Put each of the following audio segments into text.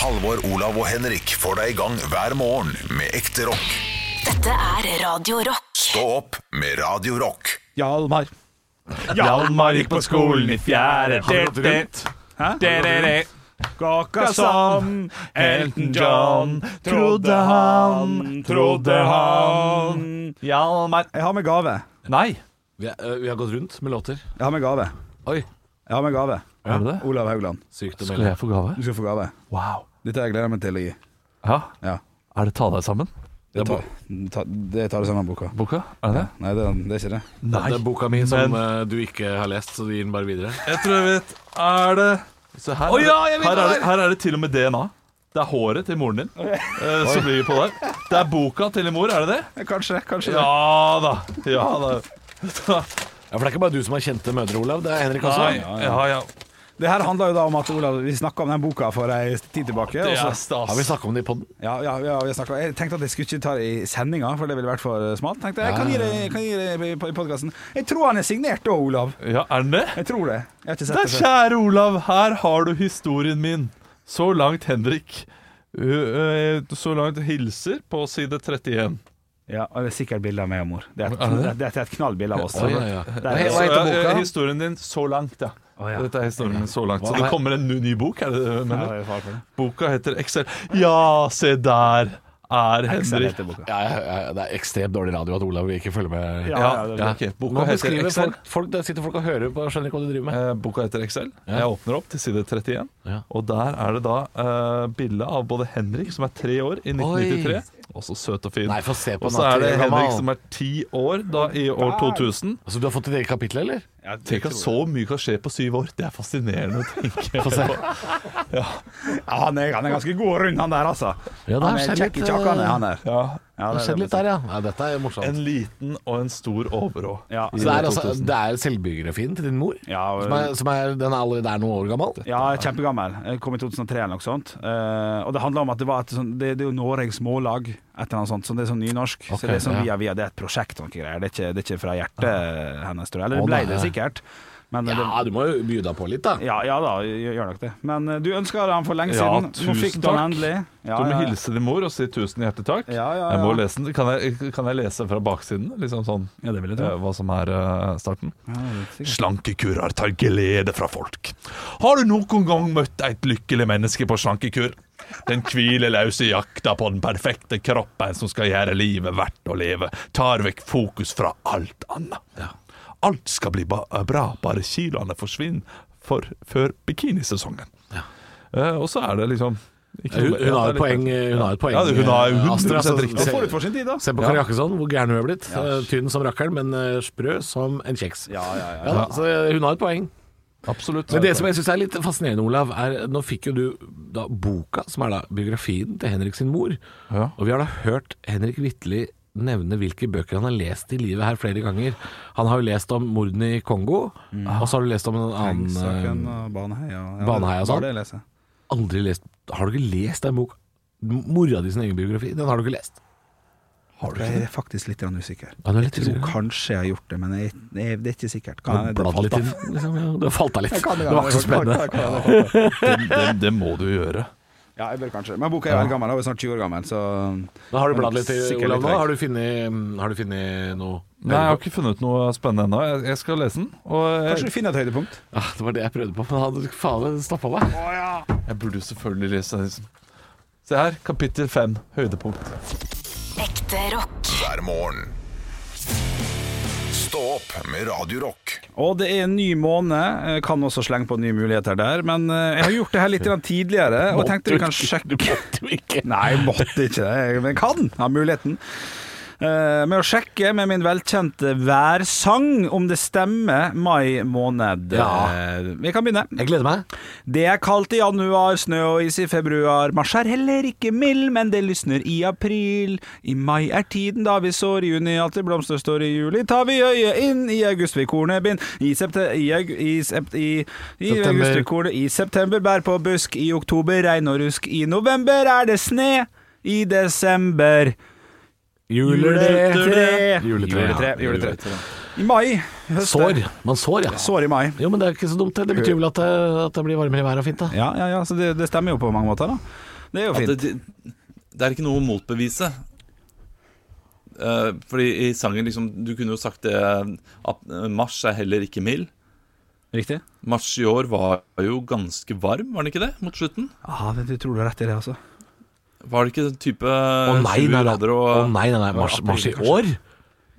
Halvor, Olav og Henrik får deg i gang hver morgen med ekte rock. Dette er Radio Rock. Stå opp med Radio Rock. Hjalmar. Hjalmar gikk på skolen i fjerde Har du gått rundt? Derere. Gåka som Elton John, trodde han, trodde han Hjalmar Jeg har med gave. Nei. Vi, er, eh, vi har gått rundt med låter. Jeg har med gave. Oi, Jeg har med gave. Har du det? Olav Haugland, sykt å Skulle melde. jeg få gave? du skal få gave. Wow. Dette jeg gleder jeg meg til å gi. Ja, Ja. Er det Ta deg sammen-boka? Det tar, ta, det tar det samme boka. Er det det? Nei, det, det er ikke det. Det er boka mi som eh, du ikke har lest, så du gir den bare videre. Jeg tror jeg vet. Er det Se her, Å er det- ja, jeg vet her, er det, hva det er! her er det til og med DNA. Det er håret til moren din eh, som ligger på der. Det er boka til din mor, er det det? Kanskje, kanskje. Ja da. Ja da. Ja, For det er ikke bare du som har kjente mødre, Olav. Det er Henrik også. Nei, sånn. ja, ja. Det her handler jo da om at Olav, vi snakka om den boka for ei tid tilbake. og Det er så- Har vi stas. snakka om det i poden? ja, ja, ja, vi snakket- jeg tenkte at jeg skulle ikke ta det i sendinga, for det ville vært for eh, smalt. Tenkte Jeg jeg kan gi det, jeg kan gi det i på- i podkasten. Jeg tror han er signert da, Olav. Ja, er den det? Jeg tror det. Jeg har ikke sett Da, det før. kjære Olav, her har du historien min. Så langt Henrik. Ø, ø, Så langt hilser på side 31. Ja, og det er sikkert bilde av meg og mor. Det er et, Er det det? det? er et knallbilde av oss. Oi, ja, ja. Det er- Hei, Så, hva heter ø, ø, boka? Historien din så langt, ja. Å, ja. Dette er historien din så langt. Så Hva det er- kommer en ny, ny bok, er det det du Ja, mener? det er far for det. Boka heter Excel. Ja, se der er Excel Henrik. heter boka. Ja, ja, ja, det er ekstremt dårlig radio at Olav ikke følger med. Ja. Ja, det er ok. Nå Boka heter beskriver Excel. folk, folk Der sitter folk og hører på og skjønner ikke hva du driver med. Eh, Boka heter Excel. Jeg åpner opp til side 31, Ja. og der er det da uh, bilde av både Henrik, som er tre år, i 1993. Også søt og fin. Nei, få se på og den så at er det det er Henrik gammel. som er ti år da, i år 2000. Altså, Du har fått ditt eget kapittel, eller? Tenk at så mye kan skje på syv år. Det er fascinerende å tenke Få se. Ja, han, er, han er ganske god rundt, han der, altså. Ja, det har han er skjedd kjekk i litt, kjakkene, eh, han der. Ja. Ja, eh, det Det har er skjedd det. litt der, ja. Nei, dette er jo morsomt. En liten og en stor overå. Ja. I Så det er, år altså, 2000. det er selvbiografien til din mor? Ja, Som er, som er, den er allerede er noen år gammel? ja, kjempegammel. Jeg Kom i 2003 eller noe sånt. Eh, og det handler om at det var et sånn Det, det er jo Noregs Mållag, et eller annet sånt. Så det er sånn nynorsk. Ok, så det er sånn ja. via via. Det er et prosjekt og noen greier. Det er ikke, det er ikke fra hjertet hennes, tror jeg. Eller Å, det ble nei. det sikkert. Men eh, det, Ja, du må jo by deg på litt, da. ja, ja da, gjør gjør nok det. Men eh, du ønska han for lenge Ja, siden. Nå tusen fikk du han takk. endelig. Ja, Du ja, må ja. hilse din mor og si tusen hjertelig takk. Ja, ja, Jeg må ja. lese den. Kan jeg, kan jeg lese fra baksiden? Liksom sånn Ja, det vil jeg eh, tro. Hva som er eh, starten? Ja, Slankekurer tar glede fra folk. Har du noen gang møtt et lykkelig menneske på slankekur? Den hvileløse jakta på den perfekte kroppen som skal gjøre livet verdt å leve, tar vekk fokus fra alt annet. Alt skal bli ba eh, bra, bare kiloene forsvinner for, før bikinisesongen. Eh, og så er det liksom ikke noe Hun, mer. Det hun har et er litt- poeng. eh, Hun har et poeng. Ja, hun har 100% Astrid, altså, riktig. se- Forut for sin tid, da. Se på Kari Jakkesson, hvor gæren hun er blitt. Eh, Tynn som rakkeren, men eh, sprø som en kjeks. Ja, ja, ja. Ja, da, så eh, hun har et poeng. Absolutt. Men det som jeg syns er litt fascinerende, Olav, er nå fikk jo du da boka, som er da biografien til Henrik sin mor. Ja. Og vi har da hørt Henrik Vitli nevne hvilke bøker han har lest i livet her flere ganger. Han har jo lest om mordene i Kongo, og så har du lest om en annen Mm. Ah, Hengsaken eh, og Baneheia. Ja, Baneheia og sånn. var det jeg leser. Aldri lest Har du ikke lest den boka? Mora di sin egen biografi, den har du ikke lest? Har du Jeg er faktisk litt grann usikker. Ja, du er Jeg litt tror usikker. kanskje jeg har gjort det, men jeg, jeg, det er ikke sikkert. Du har det bladd falt av. litt i den, liksom. Ja, du har falt av litt. Jeg kan Det var ikke så kan- spennende. kan- kan- kan- kan- kan- det, det, det må du gjøre. Ja, jeg bør kanskje Men boka er veldig gammel, jeg er jo snart 20 år gammel, så Men har du bladd litt i Sikkert Olav litt nå? vekk. Har du funnet, har du funnet noe? Nei, Jeg har ikke funnet ut noe spennende ennå. Jeg, jeg skal lese den. Og Kanskje du jeg, finner et høydepunkt? Ja, Ah, det var det jeg prøvde på, men han hadde faen stoppa meg. jeg burde jo selvfølgelig lese den. Se her, kapittel fem, høydepunkt. Ekte rock. Hver morgen. Stå opp med Radio Rock. Og det er en ny måned. Jeg Kan også slenge på nye muligheter der. Men eh, jeg har gjort det her litt grann tidligere, og tenkte vi kan sjekke Nei, jeg måtte ikke det. Jeg- Men kan ha muligheten. Eh, Med å sjekke med min velkjente værsang om det stemmer mai måned. Ja. Eh, Vi kan begynne. Jeg gleder meg. Det er kaldt i januar, snø og is i februar. Mars er heller ikke mild, men det lysner i april. I mai er tiden da vi sår, i juni alltid blomster står i juli. Tar vi øyet inn, i august vi kornet bind. I september I, aug- i, sept, i, i September. august vi kornet I september bær på busk, i oktober regn og rusk. I november er det sne, i desember Juletre. Juletre. Juletre. Juletre. Ja, Juletre. I mai Sår. Man sår, ja. Sår i mai. Jo, men det er ikke så dumt. det. Det betyr vel at det, at det blir varmere vær og fint, da. Ja, ja, ja, så det, det stemmer jo på mange måter, da. Det er jo At fint. det, det- det er ikke noe å motbevise. Eh, fordi i sangen liksom Du kunne jo sagt det at eh, mars er heller ikke mild. Riktig? Mars i år var jo ganske varm, var den ikke det? Mot slutten? Ja, du Ah, tror du har rett i det, altså. Var det ikke type Å nei, nei, 20 nei, grader og Å, nei, nei, nei. Mars, april, mars i kanskje? år?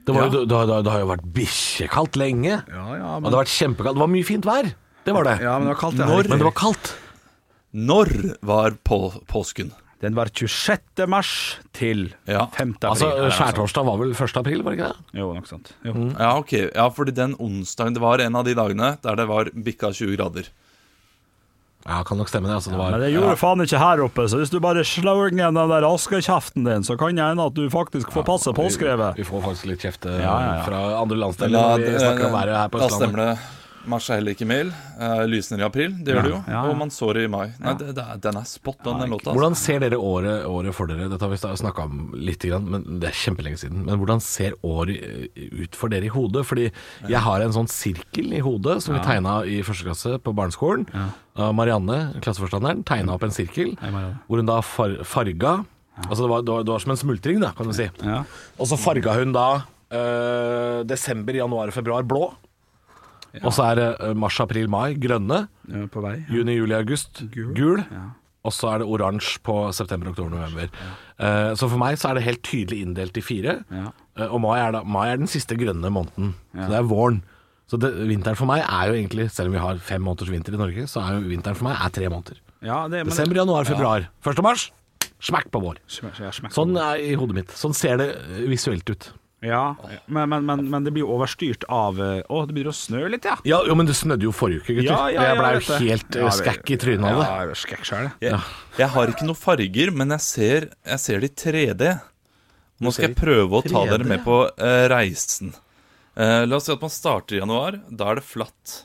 Det, var, Ja. jo- det, det, det har jo vært bikkjekaldt lenge. Ja, ja, Og det har vært kjempekaldt. Det var mye fint vær. Det var det. Ja, men det var kaldt, det. Men det her. var kaldt. Når var på, påsken? Den var 26. mars til Ja. 5. april. Altså, Ja, Skjærtorsdag Mm. var vel 1. april, var det ikke det? Jo, nok sant. Jo. Ja, ok. Ja, fordi den onsdagen Det var en av de dagene der det var bikka 20 grader. Ja, kan nok stemme det. Altså, det var Men det gjorde faen ikke her oppe, så hvis du bare slår ned den der askekjeften din, så kan det hende at du faktisk får passe påskrevet. Vi får faktisk litt kjeft eh, Ja, ja, ja. fra andre landsdeler når Ja, vi snakker om været her på eh, da stemmer Østlandet. det. Mars er heller ikke mild. Eh, lysner i april, det gjør det jo. ja, ja. Og man sår i mai. Nei, det, det er, den er spot on, den låta. altså. Hvordan ser dere året, året for dere? Dette har vi snakka om litt, grann, men det er kjempelenge siden. Men hvordan ser året eh, ut for dere i hodet? Fordi jeg har en sånn sirkel i hodet som vi tegna i første klasse på barneskolen. Da Marianne, klasseforstanderen, tegna opp en sirkel Marianne. hvor hun da far, farga Altså det var, det, var, det var som en smultring, da, kan du si. Ja. Og så farga hun da eh, desember, januar og februar blå. Og så er det eh, mars, april, mai grønne. Ja, På vei. Juni, juli, august gul. Og så er det oransje på september, oktober, november. Eh, så for meg så er det helt tydelig inndelt i fire. Ja. Eh, og mai er, da, mai er den siste grønne måneden. Så det er våren. Så det, vinteren for meg er jo egentlig, selv om vi har fem måneders vinter i Norge, så er jo vinteren for meg er tre måneder. Ja, det, men, Desember, januar, februar. 1. mars, smekk på vår. Smash, ja, smash. Sånn er i hodet mitt. Sånn ser det eh, visuelt ut. Ja, men, men, men, men det blir jo overstyrt av eh, Å, det begynner å snø litt, ja. Ja, jo, men det snødde jo forrige uke, gutter. Ja, ja, jeg blei jeg jo vet det. helt eh, Ja, det- skækk i trynet av det. Ja, jeg er skækk selv, jeg. Jeg, jeg har ikke noen farger, men jeg ser, jeg ser det i 3D. Nå skal jeg prøve å ta 3D, dere med på eh, reisen. Eh, la oss si at man starter i januar. Da er det flatt.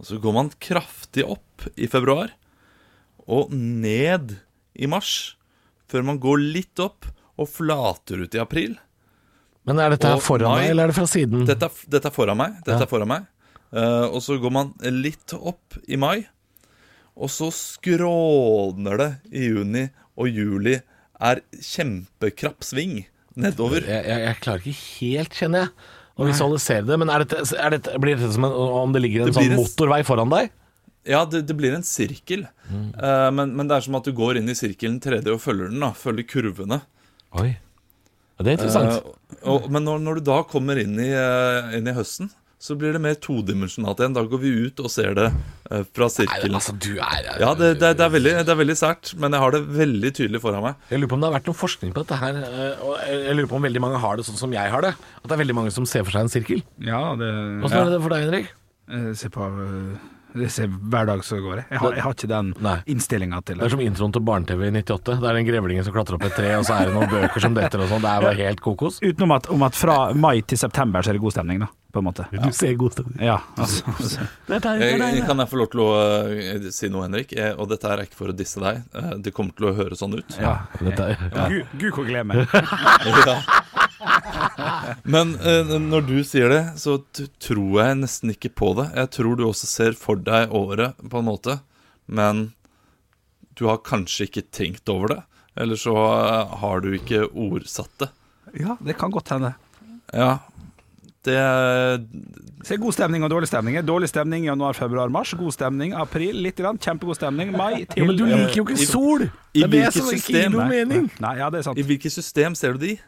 Og så går man kraftig opp i februar og ned i mars. Før man går litt opp og flater ut i april. Men er dette her Og foran mai- deg, eller er det fra siden? Dette, er- dette er foran meg. Dette Mm. Ja. er foran meg. Eh, og så går man litt opp i mai, og så skråner det i juni, og juli er kjempekrapp sving nedover. Jeg, jeg, jeg klarer ikke helt, kjenner jeg, å visualisere det. Men er dette, er dette, blir dette som en, om det ligger en Det sånn blir en s- motorvei foran deg? Ja, det, det blir en sirkel, Eh, men, men det er som at du går inn i sirkelen 3D og følger den, da. Følger kurvene. Oi. Ja, det er interessant. Eh, og, men når, når du da kommer inn i, eh, inn i høsten, så blir det mer todimensjonalt igjen. Da går vi ut og ser det eh, fra Nei, sirkelen. altså, du er Ja, det, det, det, er veldig, det er veldig sært, men jeg har det veldig tydelig foran meg. Jeg lurer på om det har vært noe forskning på dette her. eh, Og jeg jeg lurer på om veldig mange har det sånn som jeg har det. At det er veldig mange som ser for seg en sirkel. Ja, det Åssen er det for deg, Henrik? Eh, Se på eh, det ser hver dag som går. Jeg. Jeg, har, jeg har ikke den Nei. innstillinga til Det er det. som introen til barne-TV i 98. Det er den grevlingen som klatrer opp et tre, og så er det noen bøker som detter og sånn. Det er bare helt kokos. Utenom at, om at fra mai til september så er det god stemning, da. På en måte. Du ser god stemning. Ja, altså. Jeg, kan jeg få lov til å eh, si noe, Henrik? Eh, og dette her er ikke for å disse deg. eh, det kommer til å høre sånn ut. Ja. Dette er Gu- Gud, hvor gleder jeg meg. Ja. Men eh, når du sier det, så t tror jeg nesten ikke på det. Jeg tror du også ser for deg året, på en måte, men du har kanskje ikke tenkt over det. Eller så eh, har du ikke ordsatt det. Ja, det kan godt hende. Ja, det Se, god stemning og dårlig stemning. Dårlig stemning januar, februar, mars. God stemning april, litt. Grann. Kjempegod stemning mai til eh, Jo, men du liker jo ikke sol! Det er det hvilket som ikke gir system? noe Nei. mening. Nei, ja, det er sant. I hvilket system ser du det i?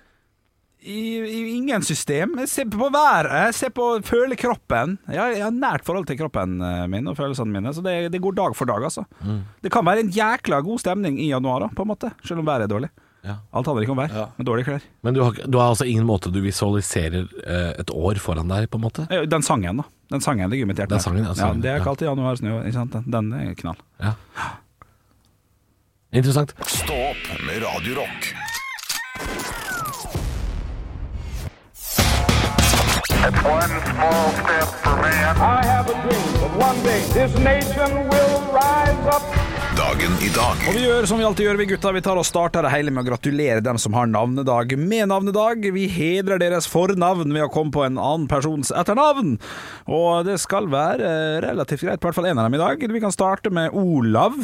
I, i ingen system. Se på været, se på føle kroppen. Jeg, har- jeg har nært forhold til kroppen eh, min og følelsene mine, så det, det går dag for dag, altså. Mm. Det kan være en jækla god stemning i januar, da, på en måte, selv om været er dårlig. Ja. Alt handler ikke om vær, men dårlige klær. Men du har, du har altså ingen måte du visualiserer eh, et år foran deg, på en måte? Eh, Den sangen, da. Den sangen ligger i mitt hjerte. Den sangen, ja, sangen, ja, det er ja. kalt i januar snø, ikke sant. Den, den er knall. Ja. Interessant. Stå opp med Radio Rock. One small step for man. I have a dream that one day this nation will rise up. Dagen i dag. Og vi gjør som vi alltid gjør, vi gutta. Vi tar og starter det hele med å gratulere dem som har navnedag med navnedag. Vi hedrer deres fornavn ved å komme på en annen persons etternavn. Og det skal være eh, relativt greit på hvert fall en av dem i dag. Vi kan starte med Olav.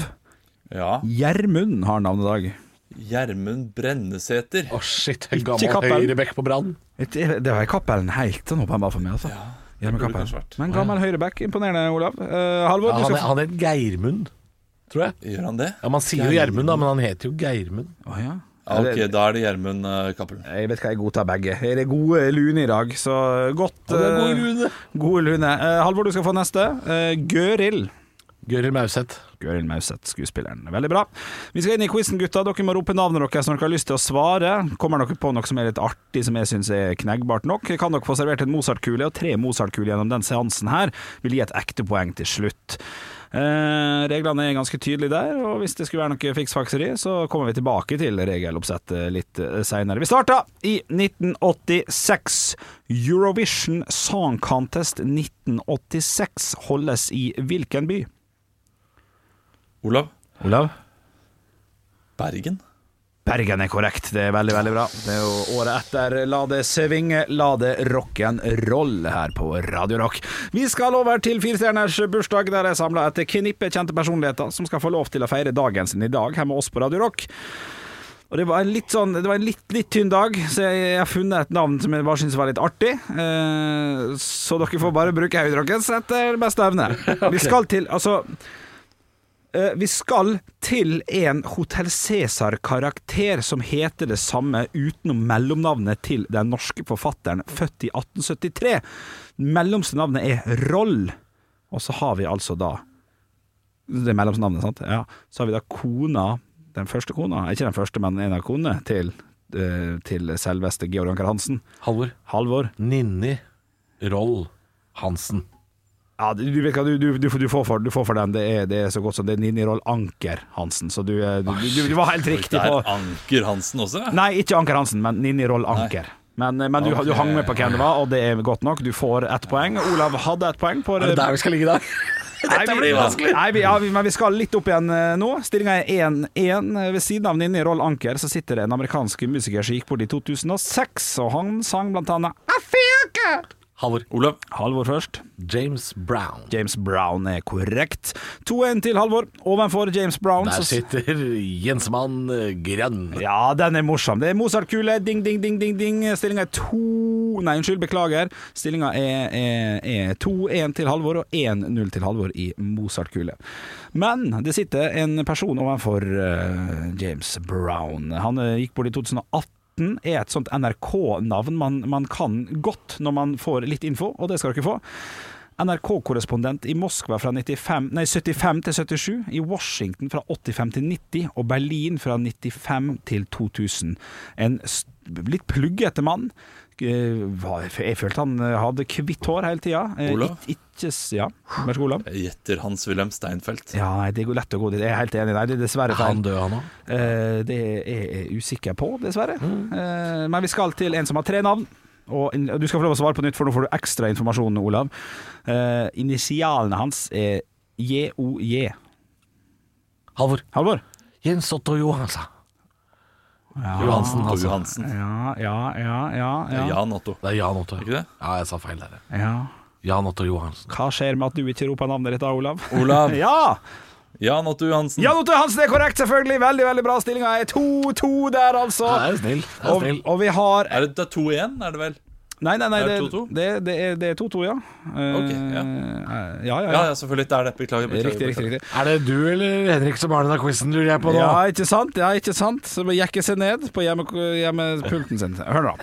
Ja. Gjermund har navnedag. Gjermund Brennesæter. Å, shit. En Ikke gammel Kappel. høyrebekk på Brann. Det det var Cappelen helt sånn åpenbar for meg, altså. Gjermund burde Cappelen. kanskje vært. Men gammel høyreback. Imponerende, Olav. Eh, Halvor, Ja, du han, skal er- han het Geirmund, tror jeg. Gjør han det? Ja, Man sier jo Gjermund, da, men han heter jo Geirmund. Å, ja. Ja, ok, da er det Gjermund eh, Cappelen. Jeg vet hva jeg godtar begge. Jeg er gode lune i dag, så godt eh, Lune. Gode lune. Eh, Halvor, du skal få neste. Eh, Gøril. Gøril Mauseth. Gøril Mauseth, skuespilleren. Veldig bra. Vi skal inn i quizen, gutta. Dere må rope navnet deres når dere har lyst til å svare. Kommer dere på noe som er litt artig, som jeg syns er kneggbart nok, kan dere få servert en Mozart-kule, og tre Mozart-kuler gjennom den seansen her vil gi et ekte poeng til slutt. Eh, reglene er ganske tydelige der, og hvis det skulle være noe fiksfakseri, så kommer vi tilbake til regeloppsettet litt eh, seinere. Vi starta i 1986. Eurovision Song Contest 1986 holdes i hvilken by? Olav? Olav? Bergen? Bergen er korrekt, det er veldig, veldig bra. Det er jo året etter La det svinge, la det rock'n'roll her på Radio Rock. Vi skal over til firestjerners bursdag, der jeg samla et knippe kjente personligheter som skal få lov til å feire dagen sin i dag her med oss på Radio Rock. Og det var en litt, sånn, det var en litt, litt tynn dag, så jeg, jeg har funnet et navn som jeg bare syns var litt artig. Eh, så dere får bare bruke hodet deres etter beste evne. Vi skal til Altså eh, Vi skal til en Hotell Cæsar-karakter som heter det samme utenom mellomnavnet til den norske forfatteren, født i 1873. Mellomste navnet er Roll. Og så har vi altså da Det er mellomnavnet, sant? Ja. Så har vi da kona, den første kona, ikke den første, men en av konene til, eh, til selveste Georg Anker Hansen. Halvor. Halvor. Ninni Roll Hansen. Ja, du, du vet hva, du, du, du, får- du, får for, du får for den. Det er, det er så godt som det er Ninni Roll Anker Hansen, så du, eh, du, du, du var helt riktig Det på er Anker Hansen også? Nei, ikke Anker Hansen, men Ninni Roll Anker. Men, eh, men du, du hang med eh, på hvem det var, og det er godt nok. Du får ett poeng. Olav hadde ett poeng. På, Er det der vi skal ligge i dag? Dette blir vanskelig! Nei, vi, ja, vi, men vi skal litt opp igjen eh, nå. Stillinga er 1-1. Ved siden av Ninni Roll Anker så sitter det en amerikansk musiker som gikk bort i 2006, og han sang blant annet I feel good! Halvor. Olav? Halvor først. James Brown. James Brown er korrekt. 2-1 til Halvor. Ovenfor James Brown Der så- sitter Jensmann Grønn. Ja, den er morsom. Det er Mozart-kule. Ding, ding, ding, ding, ding. Stillinga er to Nei, unnskyld, beklager. Stillinga er, er, er 2-1 til Halvor og 1-0 til Halvor i Mozart-kule. Men det sitter en person overfor eh, James Brown. Han eh, gikk bort i 2018. Er et sånt NRK-navn man, man kan godt når man får litt info, og det skal dere få. NRK-korrespondent i Moskva fra 95, nei, 75 til 77, i Washington fra 85 til 90 og Berlin fra 95 til 2000. En s- litt pluggete mann. Eh, hva- Jeg følte han eh, hadde hvitt hår hele tida. Eh, Olav? ikk- Ikke, s- ja, vær så god, Olav. Jeg gjetter Hans-Wilhelm Steinfeld. Ja, nei, det går lett å gå dit. Jeg er helt enig. Nei, det er dessverre feil. Han døde, han òg. Eh, det er jeg usikker på, dessverre. Eh, men vi skal til en som har tre navn. Og en- du skal få lov å svare på nytt, for nå får du ekstra informasjon, Olav. Eh, initialene hans er JOJ. Halvor. Halvor? Jens Otto Johansen. Johansen, Otto altså. Johansen. Ja, ja, ja, ja. Ja. ja. Jan Otto. Det er Jan Otto. Ikke det? Ja, jeg sa feil der. ja. Jan Otto Johansen. Hva skjer med at du ikke roper navnet ditt da, Olav? Olav. Ja! Jan Otto Johansen. Jan Otto Hansen er korrekt, selvfølgelig. Veldig veldig bra. Stillinga er 2-2 der, Ja, det altså. er snill. Det er Og, snill. og vi har Er det, det er 2-1, er det vel? Nei, nei, nei, Er det det 2-2? det- det er- det er 2-2, ja. Eh, Ok, ja. eh, ja, ja, Ja, ja. ja, selvfølgelig. Det er det. Beklager. beklager Riktig, riktig, beklager. riktig. Er det du eller Henrik som har denne quizen, lurer jeg på nå? Ja, ikke sant? Ja, ikke sant? Så må jekke seg ned på hjemme, hjemmepulten sin. Hør nå.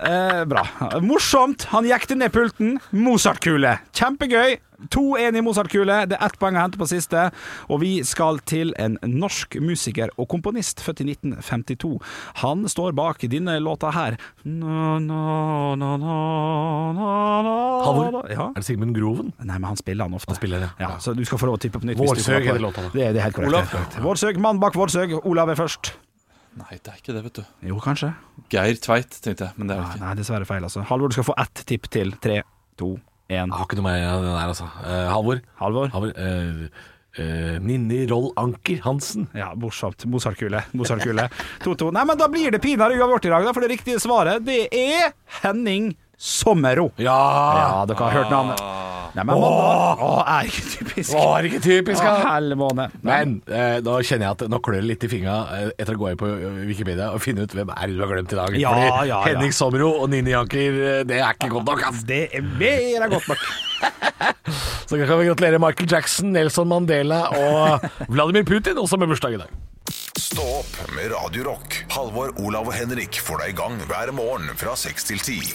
Eh, bra. Morsomt. Han jekte ned pulten. Mozart-kule. Kjempegøy. 2-1 i Mozart-kule. Det er ett poeng å hente på siste. Og vi skal til en norsk musiker og komponist, født i 1952. Han står bak denne låta her. Na, na, na, na, na, na. Halvor? Ja. Er det Sigmund Groven? Nei, men han spiller han ofte. Han spiller det. Ja, så du skal få lov å tippe på nytt. hvis du kommer Vårsøg på er det låta, da. Det er det er helt korrekt. Det Olav. er helt korrekt. Vårsøg, mann bak Vårsøg. Olav er først. Nei, det er ikke det, vet du. Jo, kanskje. Geir Tveit, tenkte jeg, men det er Nei, det ikke. nei dessverre feil, altså. Halvor, du skal få ett tipp til. Tre, to, én. Jeg har ikke noe med den der, altså. Eh, Halvor. Halvor? Halvor eh, eh, Ninni Roll Anker Hansen. Ja, morsomt. Mozartkule. Mozartkule. 2-2. Nei, men da blir det pinadø uavgjort i dag, da, for det riktige svaret det er Henning Sommero. Ja! Ja, dere har hørt navnet. Nei, men mandag Å, er ikke typisk. Å, er det ikke typisk, Å, da? helvane. Men eh, nå kjenner jeg at nå klør det litt i fingra eh, etter å gå inn på eh, Wikipedia og finne ut hvem er det du har glemt i dag. Ja, Fordi ja, ja. Henning Somro og Nini Janker, eh, det er ikke godt nok. ass. Det er mer enn godt nok. Så kan vi gratulere Michael Jackson, Nelson Mandela og Vladimir Putin, også med bursdag i dag. Stå opp med Radio Rock. Halvor, Olav og Henrik får deg i gang hver morgen fra 6 til 10.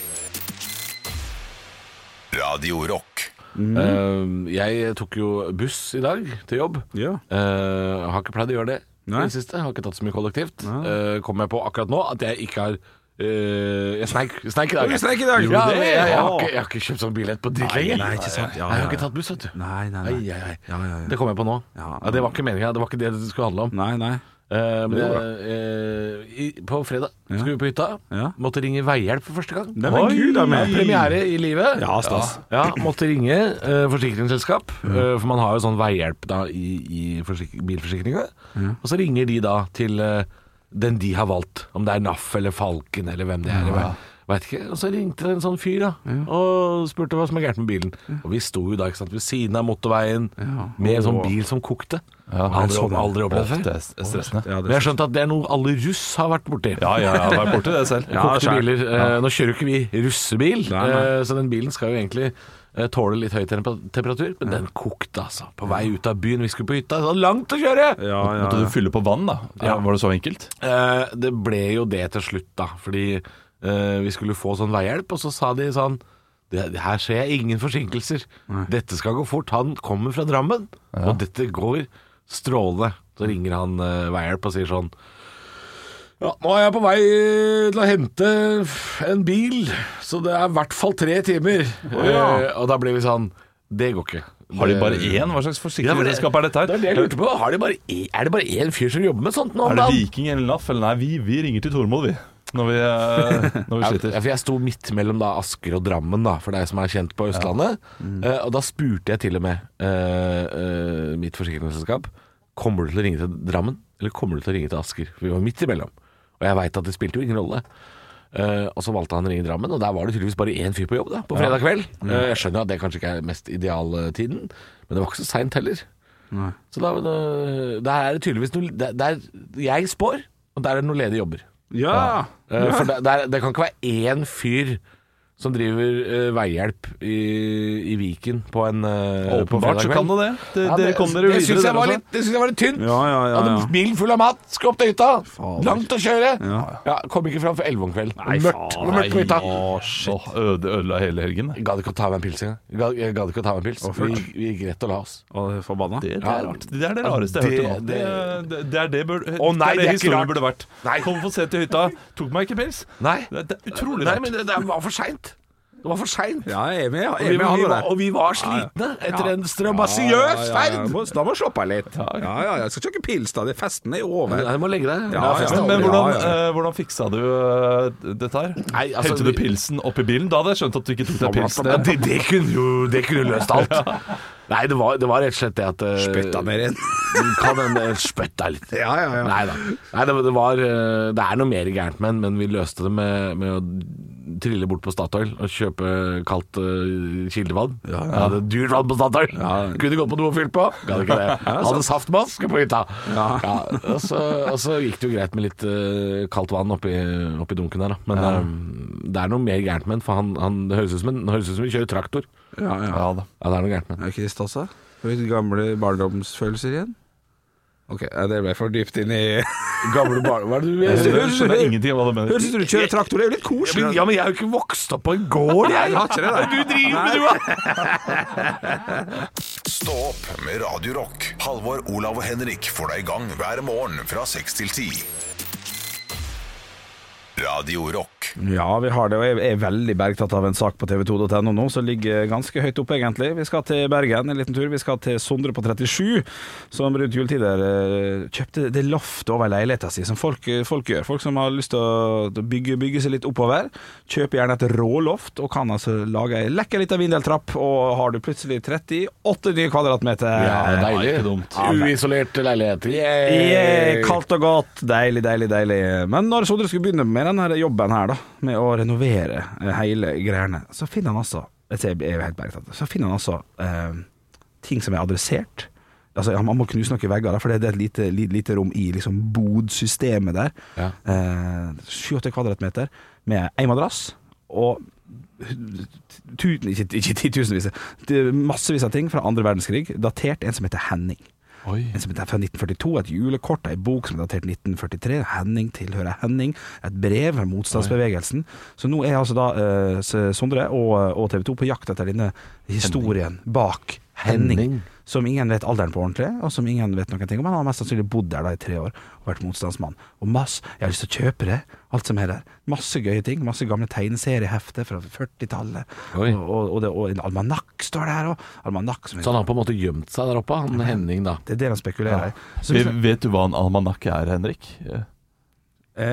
Radio Rock. Mm. Eh, jeg tok jo buss i dag til jobb. Ja. Eh, har ikke pleid å gjøre det Nei. i det siste. Har ikke tatt så mye kollektivt. Uh, kom jeg på akkurat nå at jeg ikke har eh, jeg sneik, sneik i dag. Du sneik i dag. Ja, Gjorde du jeg, det? jeg, har Ja. ikke, jeg har ikke kjøpt sånn billett på dritt lenger. nei, ikke sant. Ja, jeg har ja, ikke ja. tatt buss, vet du. Nei, nei, nei. Ai, ai, ai. Ja, ja, ja. Det kom jeg på nå. Ja, Ja. det var ikke meninga. Det var ikke det det skulle handle om. Nei, nei. Eh, men Det går eh, i, på fredag skulle vi på hytta. Ja. Måtte ringe veihjelp for første gang. Nei, men Oi! Gud, da, men- Premiere i livet. Ja, stas. Ja, måtte ringe eh, forsikringsselskap, eh, for man har jo sånn veihjelp da i, i forsik bilforsikringa. Og så ringer de da til eh, den de har valgt, om det er NAF eller Falken eller hvem det er. eller hva- Vet ikke, Og så ringte det en sånn fyr da og spurte hva som er gærent med bilen. Og vi sto jo da ikke sant, ved siden av motorveien med en sånn bil som kokte. aldri, sånn, ja. aldri opplevd før. Ofte er s- er stressende. Ja, Men jeg har skjønt at det er noe alle russ har vært borti. Ja, ja, ja, vær borti det selv. Ja, Kokte skjær. biler. Eh, Nå kjører jo ikke vi russebil, Nei, nei. eh, så den bilen skal jo egentlig eh, tåle litt høy temper- temperatur. Men den kokte, altså. På vei ut av byen, vi skulle på hytta. Det var langt å kjøre! ja, ja, Måtte du fylle på vann, da? Ja. Var det så enkelt? Eh, Det ble jo det til slutt, da. Fordi eh, vi skulle få sånn veihjelp, og så sa de sånn det, det her ser jeg ingen forsinkelser. Dette skal gå fort. Han kommer fra Drammen, og dette går strålende. Så ringer han eh, veihjelp og sier sånn ja, nå er jeg på vei eh, til å hente en bil, så det er i hvert fall tre timer. Eh, og da blir vi sånn Det går ikke. Har de Det- bare e- én? Hva slags Ja, men det- forsikringsselskap er dette her? Det er det jeg lurte på. Har de bare, én- er det bare én fyr som jobber med sånt nå? om Er det dagen? Viking eller NAF? Eller nei, vi, vi ringer til Tormod, vi. Når vi, eh, når vi Ja, sliter. ja, for jeg sto midt mellom da Asker og Drammen, da, for deg som er kjent på Østlandet. Mm. Eh, og da spurte jeg til og med eh, eh, mitt forsikringsselskap Kommer du til å ringe til Drammen, eller kommer du til å ringe til Asker? For vi var midt imellom. Og jeg veit at det spilte jo ingen rolle. Eh, og så valgte han å ringe Drammen, og der var det tydeligvis bare én fyr på jobb da, på fredag kveld. Mm. Eh, jeg skjønner at det kanskje ikke er mest idealtiden, men det var ikke så seint heller. Så da, da, der er det tydeligvis noe der, der Jeg spår, og der er det noen ledige jobber. ja. Eh, For det, det, er, det kan ikke være én fyr som driver eh, veihjelp i, i Viken på en uh, Åpenbart så kan det det. det Ja, dere kom dere det jo syns videre, jeg, dere var også. litt- det syns jeg var litt tynt. Ja, ja, ja, Hadde ja. bilen full av mat, skulle opp til hytta. Fader. Langt å kjøre. Ja. Ja. kom ikke fram før elleve om kvelden. Nei, mørkt, faen. mørkt på hytta. Å, shit. Øde, ødela hele helgen. Jeg gadd ikke å ta meg en pils engang. Jeg gadd- Jeg gadd ikke å ta meg en pils. Og Vi, fullt. vi gikk rett og la oss. Og det er forbanna. Det, det Ja, er rart. Det er det rareste det- jeg har hørt om. Det, det- det, det er det, bør, Å, nei, det, det er er ikke det historien rart. burde vært. Nei. Kom for sent til hytta, tok meg ikke pils. Nei, Det, det er utrolig Nei rart. men det, det var for seint. Det var for seint. Ja, jeg er med, Og jeg vi, er med vi, han var- der. og vi var slitne etter Ja. en strabasiøs ferd. Må- Da må du slappe av litt. Ja, ja, jeg skal ikke pils, da. Det- Festen er jo Nei, over. du må legge deg. Ja, Det er ja. fest Men, men aldri. hvordan, Ja, ja. eh, hvordan fiksa du eh, dette her? Nei, altså, Hentet du vi- altså, pilsen oppi bilen? Da hadde jeg skjønt at du ikke tok deg pilsen. Ja, det, det kunne jo det kunne jo løst alt. Nei, det var, det var rett og slett det at eh, Spytta ned igjen. du Kan en eh, spytta litt. Ja, ja, ja. Nei da. Nei, det, det var eh, Det er noe mer gærent med den, men vi løste det med, med å trille bort på Statoil og kjøpe kaldt eh, kildevann. Ja, ja. Hadde dyrt vann på Statoil. Kunne gått på do og fylt på. Gadd ikke det. Hadde saft med oss, skulle på hytta. Ja. og, så, og så gikk det jo greit med litt eh, kaldt vann oppi, oppi dunken der, da. Men eh, det er noe mer gærent med den, for han, han det høres ut som en- det høres ut som vi kjører traktor. Ja, ja. Ja da. Ja, det er noe gærent med den. Er ikke det stas, da? Får vi Gamle barndomsfølelser igjen? Ok, ja, det ble for dypt inn i Gamle barn... Hva er det du Jeg vil? skjønner- skjønner ingenting av hva du Høres mener. ut som du kjører traktor, det er jo litt Ja, men, koselig. ja, men jeg har jo ikke vokst opp på en gård, jeg! Jeg har ikke det, da. Du driver med du, da! Stå opp med Radio Rock. Halvor, Olav og Henrik får deg i gang hver morgen fra 6 til 10. Radio Rock. bergtak. Ja, vi har det, og jeg er veldig bergtatt av en sak på tv2.no nå, som ligger ganske høyt oppe, egentlig. Vi skal til Bergen en liten tur. Vi skal til Sondre på 37, som rundt juletider eh, kjøpte det loftet over leiligheta si, som folk, eh, folk gjør. Folk som har lyst til å bygge, bygge seg litt oppover. Kjøper gjerne et råloft, og kan altså lage ei lekker lita vindeltrapp, og har du plutselig 38 nye kvadratmeter. Ja, deilig. ikke dumt. Uisolerte leiligheter. Yeah. Yeah, kaldt og godt. Deilig, deilig, deilig. Men når Sondre skulle begynne med denne jobben her, da, med å renovere eh, hele greiene, så finner han altså jeg ser- jeg er helt bergtatt, Så finner han altså eh, ting som er adressert. Altså, ja, Man må knuse noen vegger, da, for det det er et lite, li- lite rom i liksom, bodsystemet der. Eh, Ja. Sju-åtte kvadratmeter med ei madrass og hu- tuten, ikke, ikke titusenvis, det er massevis av ting fra andre verdenskrig, datert en som heter Henning. En som er fra 1942, et julekort, ei bok som er datert 1943, Henning tilhører Henning, et brev med motstandsbevegelsen. Så nå er altså da eh, S- Sondre og, og TV 2 på jakt etter denne historien bak Henning, Henning. som ingen vet alderen på ordentlig, og som ingen vet noen ting om. Han har mest sannsynlig bodd der da i tre år og vært motstandsmann. Og masse, jeg har lyst til å kjøpe det, alt som er der. Masse gøye ting. Masse gamle tegneseriehefter fra 40-tallet. Og, Oi. og, og, det- og en almanakk står der òg. Almanakk som Så han har på en måte gjemt seg der oppe, han Henning, da. Det er det han spekulerer i. Så hvis- Vet, vet du hva en almanakk er, Henrik? Eh,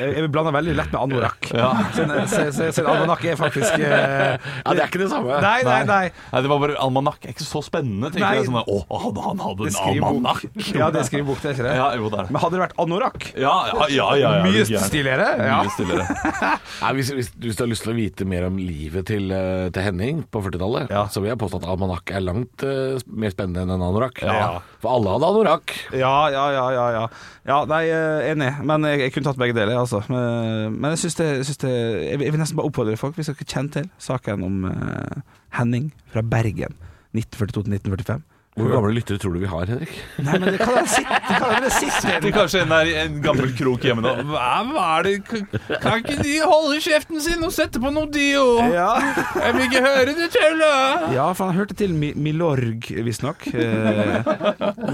jeg- jeg blander veldig lett med anorakk. Så en- Så så- så en almanakk er faktisk eh, Ja, det er ikke det samme. Nei, nei, nei. Nei, det var bare Almanakk er ikke så spennende. Nei. Tenker jeg sånn, Å, han, han Det hadde en skriver bok. almanakk! Ja, det skriver bok, det er ikke det? Ja, jo, det er det. Men hadde det vært anorakk? Ja, ja, ja, ja, ja, Mye det er gærent. stiligere. Ja. Mye stillere. Nei, hvis, hvis, hvis du har lyst til å vite mer om livet til, eh, til Henning på 40-tallet, Ja. så vil jeg påstå at almanakk er langt eh, mer spennende enn en anorakk. Ja. For alle hadde anorakk. Ja, ja, ja, ja, ja. ja nei, eh, enig. Men jeg, jeg kunne tatt begge deler, altså. Men, men jeg syns det, jeg, synes det jeg, vil- jeg vil nesten bare oppfordre folk, hvis dere kjenner til saken om eh, Henning fra Bergen 1942 til 1945. Hvor gamle lyttere tror du vi har, Henrik? Nei, men det kan være sitt- det kan være det siste Det er kanskje en, der, i en gammel krok hjemme nå. Hva, hva er det K- Kan ikke de holde kjeften sin og sette på noe dio? Ja. Jeg vil ikke høre det tullet! Ja, for han hørte til Mi Milorg, visstnok. Eh,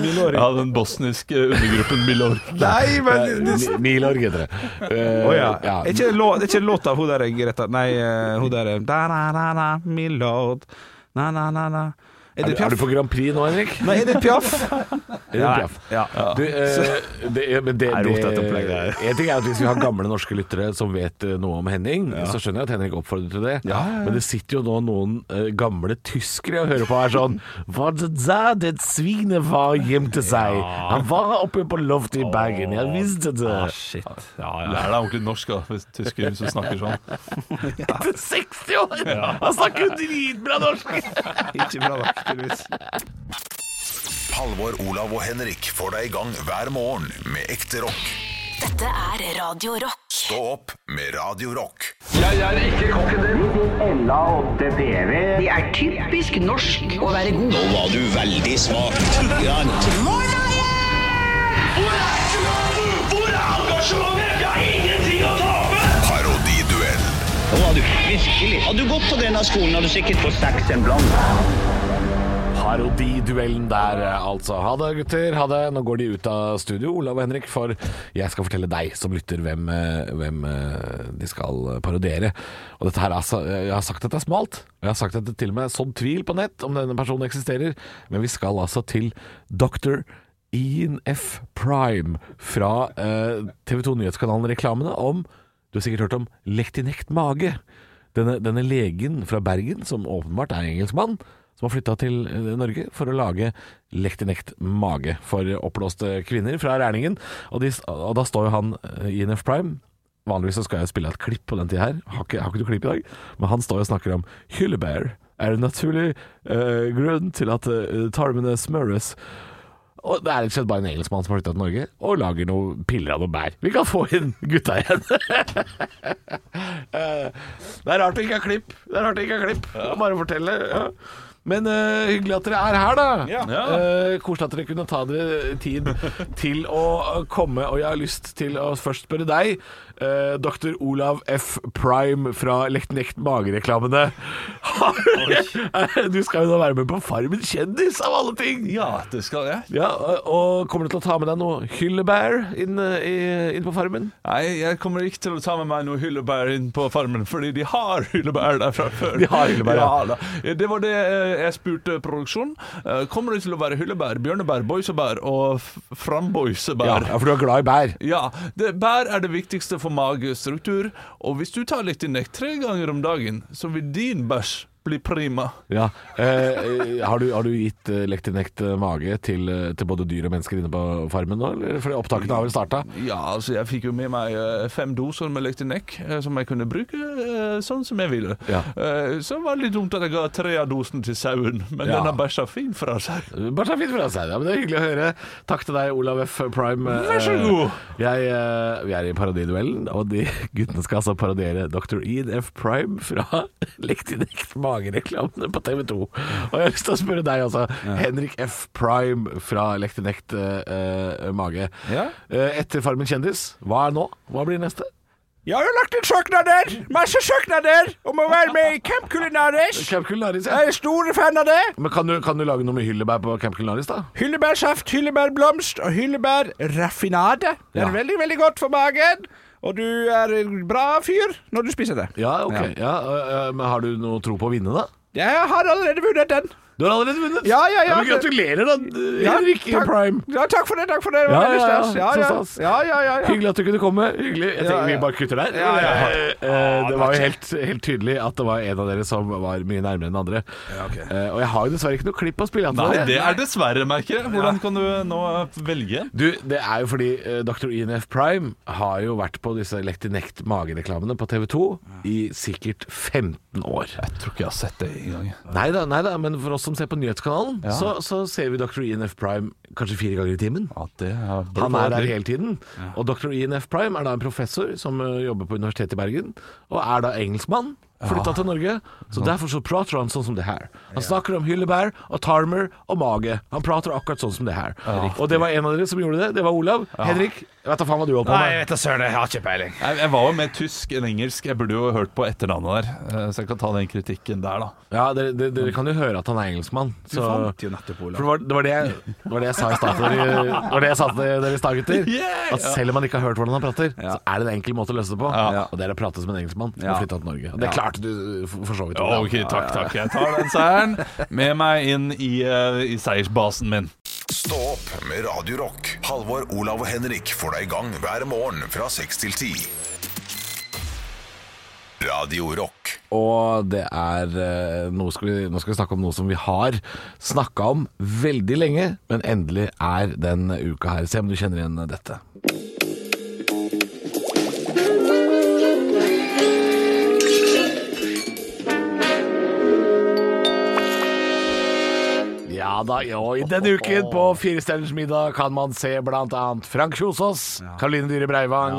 Milorg Ja, den bosniske undergruppen Milorg. Nei, men det- Mi- Milorg heter det. Eh, Å ja. ja. Er ikke lå- det er ikke låta hun der Greta Nei, eh, hun der da, na, na, na, Milord Na, na, na, na Er Er, det du- er du Piaf? på Grand Prix nå, Henrik? Nei, er det Piaf? Er du Piaf? Ja. Du, eh, det, ja, men det, Nei, det, rot dette opplegget her. en ting er at Hvis vi har gamle norske lyttere som vet eh, noe om Henning, så skjønner jeg at Henrik oppfordrer til det. Men det sitter jo nå noen eh, gamle tyskere og hører på her sånn Var det der det svinet var gjemte seg? Han var oppe på loftet i Bergen, jeg visste det. Shit. Lær deg ordentlig norsk, da, hvis tysker som snakker sånn. Etter 60 år! Han snakker jo dritbra norsk! Ikke bra nok, tydeligvis. Halvor, Olav og Henrik får deg i gang hver morgen med ekte rock. Dette er Radio Rock. Stå opp med Radio Rock. Det er typisk norsk å være god. Nå var du veldig smak. Hvor er engasjementet? Vi har ingenting å tape! Parodiduell. Nå var du virkelig. Hadde du gått på denne skolen, hadde du sikkert fått seks en blant. Parodiduellen der, eh, altså. Ha det, gutter. Ha det. Nå går de ut av studio, Olav og Henrik, for jeg skal fortelle deg som lytter hvem, eh, hvem eh, de skal parodiere. Og dette her, er altså, eh, Jeg har sagt at det er smalt, og jeg har sagt at det til og med er sådd tvil på nett om denne personen eksisterer, men vi skal altså til Dr. Ian F. Prime fra eh, TV 2 Nyhetskanalen Reklamene om Du har sikkert hørt om lektinekt mage. Denne, denne legen fra Bergen, som åpenbart er engelskmann, som har flytta til eh, Norge for å lage lektinekt mage for oppblåste kvinner fra Rælingen. Og, de, og da står jo han eh, i NF Prime. Vanligvis så skal jeg spille et klipp på den tida her, har ikke, har ikke du klipp i dag? Men han står og snakker om hyllebær er en naturlig eh, grunn til at eh, tarmene smøres. Og det er rett og slett bare en engelskmann som har flytta til Norge og lager noen piller av noen bær. Vi kan få inn gutta igjen. Eh, det er rart å ikke ha klipp. Det er rart å ikke ha klipp. Bare fortelle. Ja. Men eh, hyggelig at dere er her, da. Ja. Eh, koselig at dere kunne ta dere tid til å komme. Og jeg har lyst til å først spørre deg, eh, dr. Olav F. Prime fra Lekt Nekt Mage-reklamene. Har du- Du skal jo nå være med på Farmen kjendis, av alle ting! Ja, det skal jeg. Ja, og- og kommer du til å ta med deg noe hyllebær inn, eh, i- inn på Farmen? Nei, jeg kommer ikke til å ta med meg noe hyllebær inn på farmen, fordi de har hyllebær der fra før. De har hyllebær, ja. ja. da. Det var det eh, jeg spurte produksjonen. Eh, Kommer det til å være hyllebær, bjørnebær, boisebær og f- Ja, framboisebær? ja, for du er glad i bær. Ja, det, bær er det viktigste for magestruktur, og hvis du tar litt innek tre ganger om dagen, så vil din bæsj bli prima. Ja. Eh, eh, har, du, har du gitt eh, Lektinekt eh, mage til, eh, til både dyr og mennesker inne på Farmen nå? Eller? Fordi opptakene har vel starta? Ja, altså jeg fikk jo med meg eh, fem doser med Lectinec eh, som jeg kunne bruke eh, sånn som jeg ville. Ja. Eh, Så var det litt dumt at jeg ga tre av dosen til sauen, men Ja. den har bæsja fin fra seg. Bare så fint fra seg. Ja, men det er hyggelig å høre. Takk til deg, Olav F. Prime. Eh, Vær så god. Jeg, eh, vi er i parodiduellen, og de guttene skal altså parodiere Dr. Ian F. Prime fra Lektinekt magereklamene på TV 2. Og jeg har lyst til å spørre deg, altså. Henrik F. Prime fra Lektinekt eh, eh, mage. Ja. Eh, etter Farmen kjendis, hva er nå? Hva blir neste? Jeg har jo lagt inn søknader, masse søknader, om å være med i Camp Kulinaris. Camp Kulinaris, ja. Jeg er stor fan av det. Men kan du, kan du lage noe med hyllebær på Camp Culinaris, da? Hyllebærsaft, hyllebærblomst og hyllebærraffinade. Det er Ja. veldig, veldig godt for magen. Og du er en bra fyr når du spiser det. Ja, ok. Ja. øh, øh, men har du noe tro på å vinne, da? Jeg har allerede vunnet den. Du har allerede vunnet! Ja, ja, ja. men gratulerer, da, Ja, Henrik takk. Prime. Ja, takk for det, takk for det. Det var Ja, veldig ja, ja. stas. Ja, Så ja. stas. Ja, ja, ja, ja. Hyggelig at du kunne komme. Hyggelig. Jeg tenker Ja, ja. Vi bare kutter der. Ja, ja, ja. Eh, eh, det var jo helt, helt tydelig at det var en av dere som var mye nærmere enn andre. Eh, og jeg har jo dessverre ikke noe klipp å spille av til Nei, dere. det er dessverre, merker jeg. Hvordan kan du nå eh, velge? Du, det er jo fordi eh, Dr. INF Prime har jo vært på disse Lektinekt magereklamene på TV 2 i sikkert 15 år. Jeg tror ikke jeg har sett det engang. Nei da, nei da, men for oss som ser på nyhetskanalen, så, så ser vi Dr. INF Prime kanskje fire ganger i timen. Ja, det er Han er der hele tiden. Og Dr. INF Prime er da en professor som ø, jobber på Universitetet i Bergen, og er da engelskmann. Flytta til Norge. Så derfor så prater han sånn som det her. Han snakker om hyllebær og tarmer og mage. Han prater akkurat sånn som det her. og det var en av dere som gjorde det. Det var Olav. Henrik, jeg vet da faen hva du holdt på Nei, med. jeg vet da søren, jeg har ikke peiling. Jeg, jeg var jo mer tysk enn engelsk. Jeg burde jo hørt på etternavnet der, eh, så jeg kan ta den kritikken der, da. Ja, dere, dere, dere kan jo høre at han er engelskmann. Så. fant jo nettopp Olav. For det var, det, var det, jeg- det var det jeg sa i stad til dere- det var det jeg sa til dere i stad, gutter. Yeah! At selv om man ikke har hørt hvordan han prater, så er det en enkel måte å løse det på. Ja. Og det er å prate som en engelskmann som Ja. har flytta til Norge. Og det Ja. Oh, klarte du uh, for for så vidt. Olav. Ok, takk, takk. Jeg tar den seieren med meg inn i, eh, i seiersbasen min. Stå opp med Radio Rock. Halvor, Olav og Henrik får deg i gang hver morgen fra 6 til 10. Radio Rock. Og det er eh, nå skal, vi, nå skal vi snakke om noe som vi har snakka om veldig lenge, men endelig er den uka her. Se om du kjenner igjen dette. Ja da, ja, og i denne uken på Firestjerners middag kan man se blant annet Frank Kjosås, Karoline Dyhre Breivang,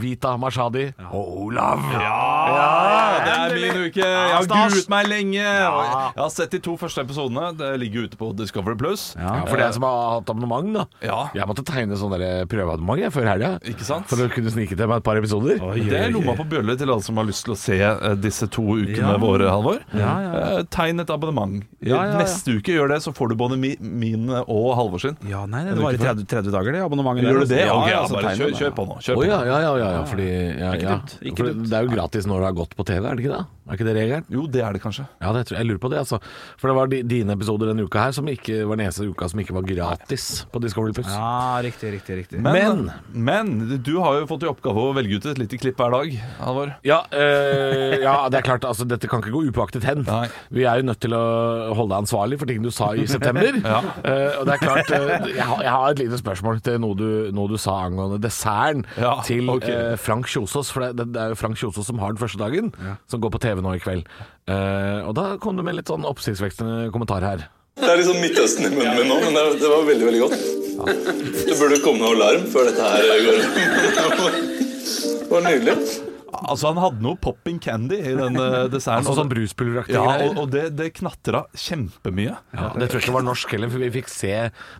Vita Mashadi og Olav. Ja, det er min uke. Jeg har gruet meg lenge. Og Jeg har sett de to første episodene. Det ligger ute på Discovery Plus. Ja, for deg som har hatt abonnement, da. Ja. Jeg måtte tegne sånn der prøveabonnement jeg, før helga. Ikke sant? For å kunne snike til meg et par episoder. Det er lomma på bjølle til alle som har lyst til å se eh, disse to ukene våre, Halvor. Eh, Tegn et abonnement. ja, ja. Neste uke gjør det, så får du både mi- min og Halvor sin. Ja, nei, det var i 30, 30 dager, det abonnementet. Gjør du det? Ja, Ok, ja, ja, altså, bare tegner kjør, det. kjør på nå. Kjør Å på. ja, ja, ja, ja, ja, fordi ja, Ikke ja. dumt, ikke For dumt. det er jo gratis når du har gått på TV, er det ikke det? Er ikke det regelen? Jo, det er det kanskje. Ja, det tror jeg. jeg lurer på det, altså. For det var di- dine episoder denne uka her som ikke var den eneste uka som ikke var gratis på Discovery Plus. Ja, riktig, riktig, riktig. Men, men, du har jo fått i oppgave å velge ut et lite klipp hver dag, Halvor. Ja, øh, ja, det er klart, altså dette kan ikke gå upåaktet hen. Nei. Vi er jo nødt til å holde deg ansvarlig for ting du sa i september. Eh, og det er klart, eh, jeg, har, jeg har et lite spørsmål til noe du, noe du sa angående desserten Ja, til ok. eh, Frank Kjosås. For det, det er jo Frank Kjosås som har den første dagen, som går på TV nå i kveld. Eh, og da kom du med litt sånn oppsiktsvekkende kommentar her. Det er litt sånn Midtøsten i munnen min nå, men det, det var veldig, veldig godt. Det burde komme noe alarm før dette her går. Det var nydelig. Altså, han hadde noe popping candy i den eh, desserten. Altså sånn bruspulveraktig Ja, greier. og, og det, det knatra kjempemye. Ja, det tror jeg ikke var norsk heller, for vi fikk se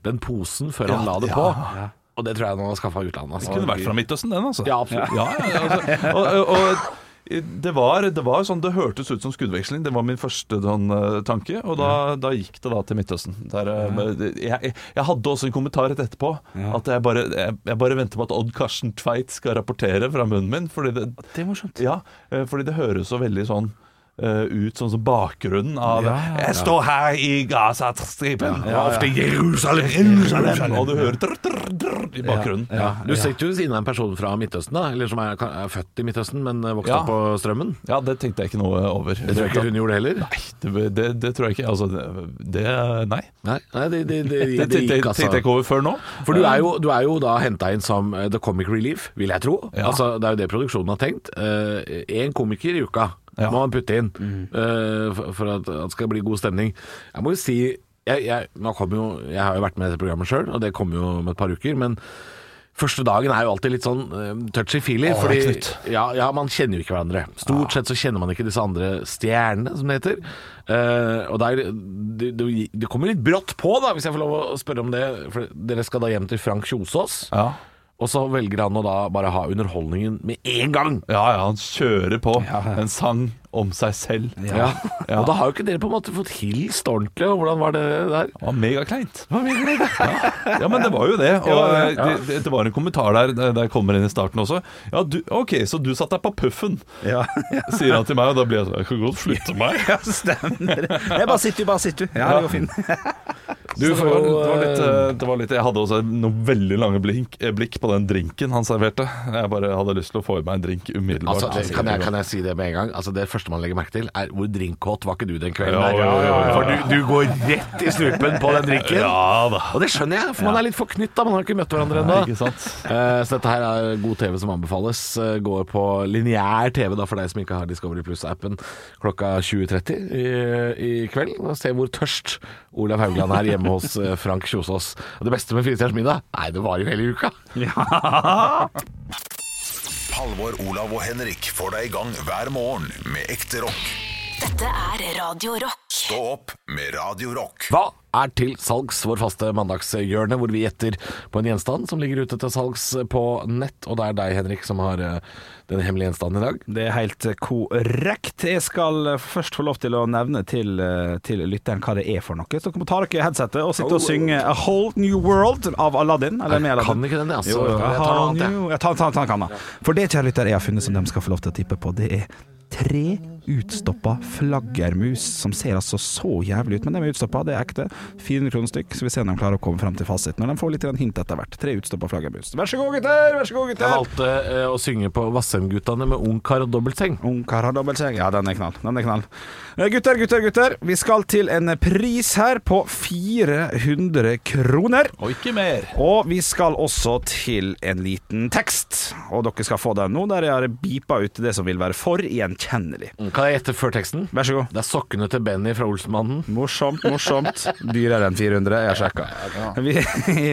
den posen før han Ja, la det ja. på. Og det tror jeg han har skaffa utlandet. Altså. Det kunne vært fra Midtøsten, den, altså. Ja, absolutt. Ja, ja, ja, altså. Og, og, og det var, det var sånn, det hørtes ut som skuddveksling. Det var min første sånn, eh, tanke. Og da, da gikk det da til Midtøsten. Der, eh, jeg, jeg, jeg hadde også en kommentar rett etterpå. At jeg bare, jeg, jeg bare venter på at Odd Karsten Tveit skal rapportere fra munnen min. Fordi det, Det er morsomt. ja, eh, fordi det høres så veldig sånn eh, ut sånn som bakgrunnen av Ja, ja, ja. Jeg står her i Gazastripen, Ja, ofte Jerusalem, Jerusalem Og du hører drr, drr, drr, i bakgrunnen. Ja, du sitter jo ved siden av en person fra Midtøsten, da, eller som er, er født i Midtøsten, men vokste Ja. opp på Strømmen. Ja, det tenkte jeg ikke noe over. Det tror jeg ikke hun gjorde heller. Nei, det, det, det tror jeg ikke. Altså, det- det Nei. Nei, nei det, det, det, Det det, tenkte jeg- gikk, altså. tenkte jeg ikke over før nå. For du er jo, du er jo da henta inn som eh, The Comic Relief, vil jeg tro. Ja. Altså, det er jo det produksjonen har tenkt. Én komiker i uka Ja. Mm. må han putte inn eh, for for at at det skal bli god stemning. Jeg må jo si jeg, jeg, nå kommer jo, jeg har jo vært med i dette programmet sjøl, og det kommer jo om et par uker. men Første dagen er jo alltid litt sånn eh, touchy-feely. Åh, fordi Knut. ja, ja, man kjenner jo ikke hverandre. Stort sett så kjenner man ikke disse andre stjernene, som det heter. Eh, og der, det, det, det kommer litt brått på, da, hvis jeg får lov å spørre om det. For dere skal da hjem til Frank Kjosås. Ja. Og så velger han å da bare ha underholdningen med en gang. ja, ja, han kjører på en sang om seg selv. Ja. Ja. Og da har jo ikke dere på en måte fått hilst ordentlig. Og hvordan var det der? Det var megakleint. Ja. ja, men det var jo det. Og eh, Det, det var en kommentar der der jeg kommer inn i starten også. Ja, du, OK, så du satt deg på puffen, Ja, sier han til meg, og da blir jeg sånn Jeg kan godt flytte meg. ja stemmer. Jeg bare sitter, bare sitter. Ja, det går fint. Du, det, var, det, var litt, eh, det var litt Jeg hadde også noen veldig lange blink, eh, blikk på den drinken han serverte. Jeg bare hadde lyst til å få i meg en drink umiddelbart. Altså, det, kan, jeg, kan jeg si det med en gang? Altså, det første man legger merke til, er hvor drinkkåt var ikke du den kvelden? Ja, der? ja, ja, ja. For du, du går rett i strupen på den drinken. Ja da. Og det skjønner jeg, for man er litt forknytta. Man har ikke møtt hverandre Nei, ennå. ikke sant? Eh, Så dette her er god TV som anbefales. Eh, Går på lineær TV da for deg som ikke har Discovery Plus-appen klokka 20.30 i, i kveld. Og se hvor tørst Olav Haugland er hjemme hos eh, Frank Kjosås. Og det beste med Fire stjerners middag? Nei, det varer jo hele uka. Halvor, Olav og Henrik får deg i gang hver morgen med ekte rock. Dette er Radio Rock. Stå opp med Radio Rock. Hva er til salgs, vår faste mandagshjørne, hvor vi gjetter på en gjenstand som ligger ute til salgs på nett. Og det er deg, Henrik, som har eh, den hemmelige gjenstanden i dag. Det er helt korrekt. Jeg skal først få lov til å nevne til, til lytteren hva det er for noe. Så dere må ta dere headsetet og sitte og synge A Whole New World av Aladdin. Eller med Oh. Jeg Aladdin. kan ikke den, jeg, altså. Jo, jo. Jeg tar noe annet, jeg. Jo, jeg tar- tar- tar den, da. For det, kjære lytter, jeg har funnet som de skal få lov til å tippe på, det er tre utstoppa flaggermus som ser altså så jævlig ut. Men de er utstoppa, det er ekte. 400 kroner stykk. Så vi ser om de klarer å komme fram til fasiten. Og de får litt grann hint etter hvert. Tre utstoppa flaggermus. Vær så god, gutter! Vær så god, Jeg gutter! valgte eh, å synge på Vassendgutane med Ungkar og Dobbeltseng. Ungkar har dobbeltseng. Ja, den er knall. Den er knall. Eh, Gutter, gutter, gutter. Vi skal til en pris her på 400 kroner. Og ikke mer. Og vi skal også til en liten tekst. Og dere skal få den nå, der jeg har beepa ut det som vil være for gjenkjennelig. Mm, Kan jeg gjette før teksten? Vær så god. Det er sokkene til Benny fra Olsenmannen. Morsomt, morsomt. Dyrere enn 400, jeg har sjekka. Vi,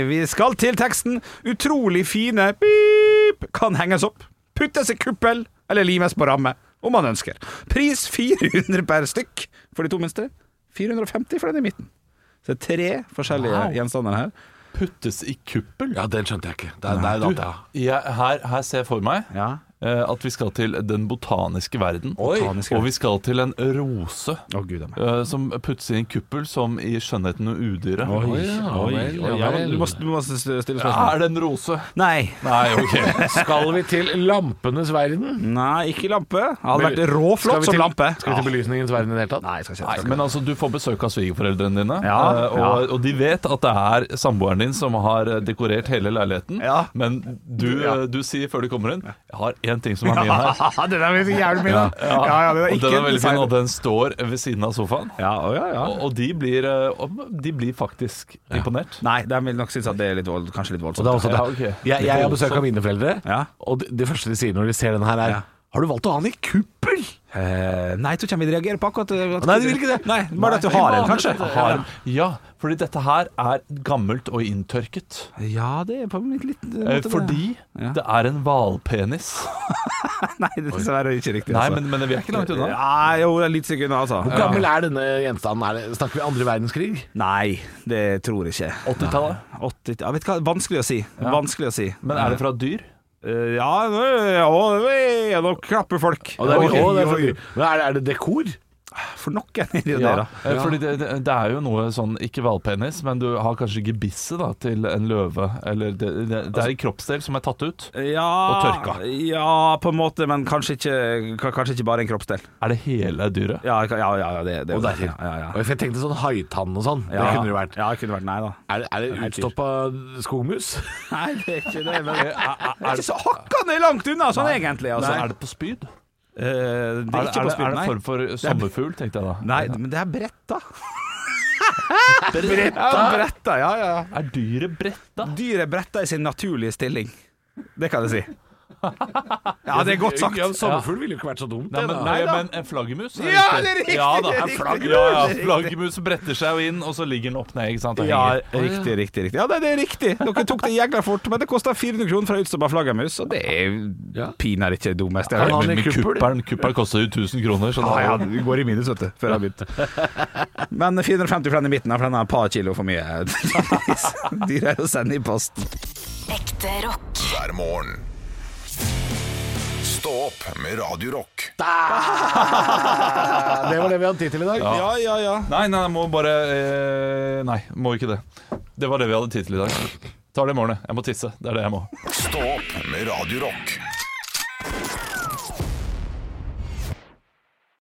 vi skal til teksten. Utrolig fine pip kan henges opp, puttes i kuppel eller limes på ramme, om man ønsker. Pris 400 per stykk for de to minste. 450 for den i midten. Så det er tre forskjellige Wow. gjenstander her. Puttes i kuppel? Ja, den skjønte jeg ikke. Det er, det er Du, data, ja. jeg, her, her ser jeg for meg Ja. eh, at vi skal til den botaniske verden. Botaniske Og vi skal til en rose Å, Gud, da. eh, som puttes i en kuppel, som i 'Skjønnheten og udyret'. ja, vel, ja, Ja, vel. men du, må, du må stille spørsmål. Er det en rose? Nei. Nei, OK. Skal vi til lampenes verden? Nei, ikke lampe. Hadde vært råflott som lampe. Skal vi til belysningens verden i det hele tatt? Nei, jeg skal ikke. Nei, men altså, du får besøk av svigerforeldrene dine, Ja, eh, og, og de vet at det er samboeren din som har eh, dekorert hele leiligheten, Ja. men du, eh, du sier før du kommer inn 'Jeg har én ting som er min her'. den er veldig jævlig min, da. Ja, ja, den er og ikke den er veldig fin, design. og den står ved siden av sofaen. Ja, å, ja, ja. Og, og de, blir, eh, og de blir faktisk imponert. Nei, de vil nok synes at det er litt vold, kanskje litt voldsomt. Og det er også det. Ja, ok. jeg, jeg har besøk av mine foreldre, Ja. og det, det første de sier når de ser den her, er Ja. Har du valgt å ha den i kuppel? Eh, nei, jeg tror ikke han vil reagere på akkurat at- Nei, de vil ikke det. Nei, Bare at du har en, kanskje. Har en. Ja, fordi dette her er gammelt og inntørket. Ja, det er på en litt, litt Eh, måte det. Fordi Ja. det er en hvalpenis. Nei, det er dessverre ikke riktig. Nei, altså. men, men vi er ikke langt unna. Ja, jo, det er litt sekund, altså. Hvor gammel er denne gjenstanden? Er det, snakker vi andre verdenskrig? Nei, det tror jeg ikke. 80-tallet. 80, ja, vet du hva, vanskelig å si. Vanskelig å si. Men er det fra dyr? Eh, Ja, nå- ja, ja, nå klapper folk. Og det er, Ok, å, det er, for, men er, det- er det dekor? For noen er det jo det, Ja, da. eh, fordi det, det, det er jo noe sånn, ikke hvalpenis, men du har kanskje gebisset da, til en løve. Eller det, det, det er en kroppsdel som er tatt ut. Ja, Og tørka. Ja, på en måte, men kanskje ikke, k- kanskje ikke bare en kroppsdel. Er det hele dyret? Ja, ja, ja, ja det, det, Og der, ja, ja, ja. Og jeg tenkte sånn haitann og sånn. Det Ja. kunne det vært. Ja, det kunne vært nei, da. Er, det- er det Nei, utstoppa skogmus? Nei, det er ikke det. Men Er, er, det er er, ikke så hakkende langt unna sånn egentlig, altså. altså, er det på spyd? Eh, det er Er det, ikke på er det, er spyd, det nei. en form for sommerfugl, tenkte jeg da? Nei, men det er bretta. bretta? Ja, bretta, ja, ja. Er dyret bretta? Dyret bretter i sin naturlige stilling. Det kan jeg si. Ja, det er godt sagt. Ja, sånn. en sommerfugl ville jo ikke vært så dumt. Nei, det, men, da. nei, da. men en flaggermus? er Ja, riktig. det er riktig, Ja, da, det er en riktig, flagg, det er ja, ja, riktig. flaggermus bretter seg jo inn, og så ligger den opp ned. ikke sant? Og Ja, henger. riktig, riktig. riktig Ja, det, det er riktig. Dere tok det jækla fort, men det kosta 400 kroner for ei utstoppa flaggermus, og det er Ja. pinadø ikke det dummeste Han jeg har har hørt. en Men men kuppel. kuppelen, kuppelen koster jo 1000 kroner, så da Ja, ja, du går i minus, vet du, før jeg har begynt. Men 450 for den i midten, for den er et par kilo for mye. Dyr er å sende i post. Ekte rock. hver morgen. Stå opp med Radio Rock. Ja, det var det vi hadde tid til i dag. Ja, ja, ja. Nei, nei, må bare eh, Nei, må ikke det. Det var det vi hadde tid til i dag. Tar det i morgen. jeg. Jeg må tisse. Det er det jeg må. Stå opp med Radio Rock.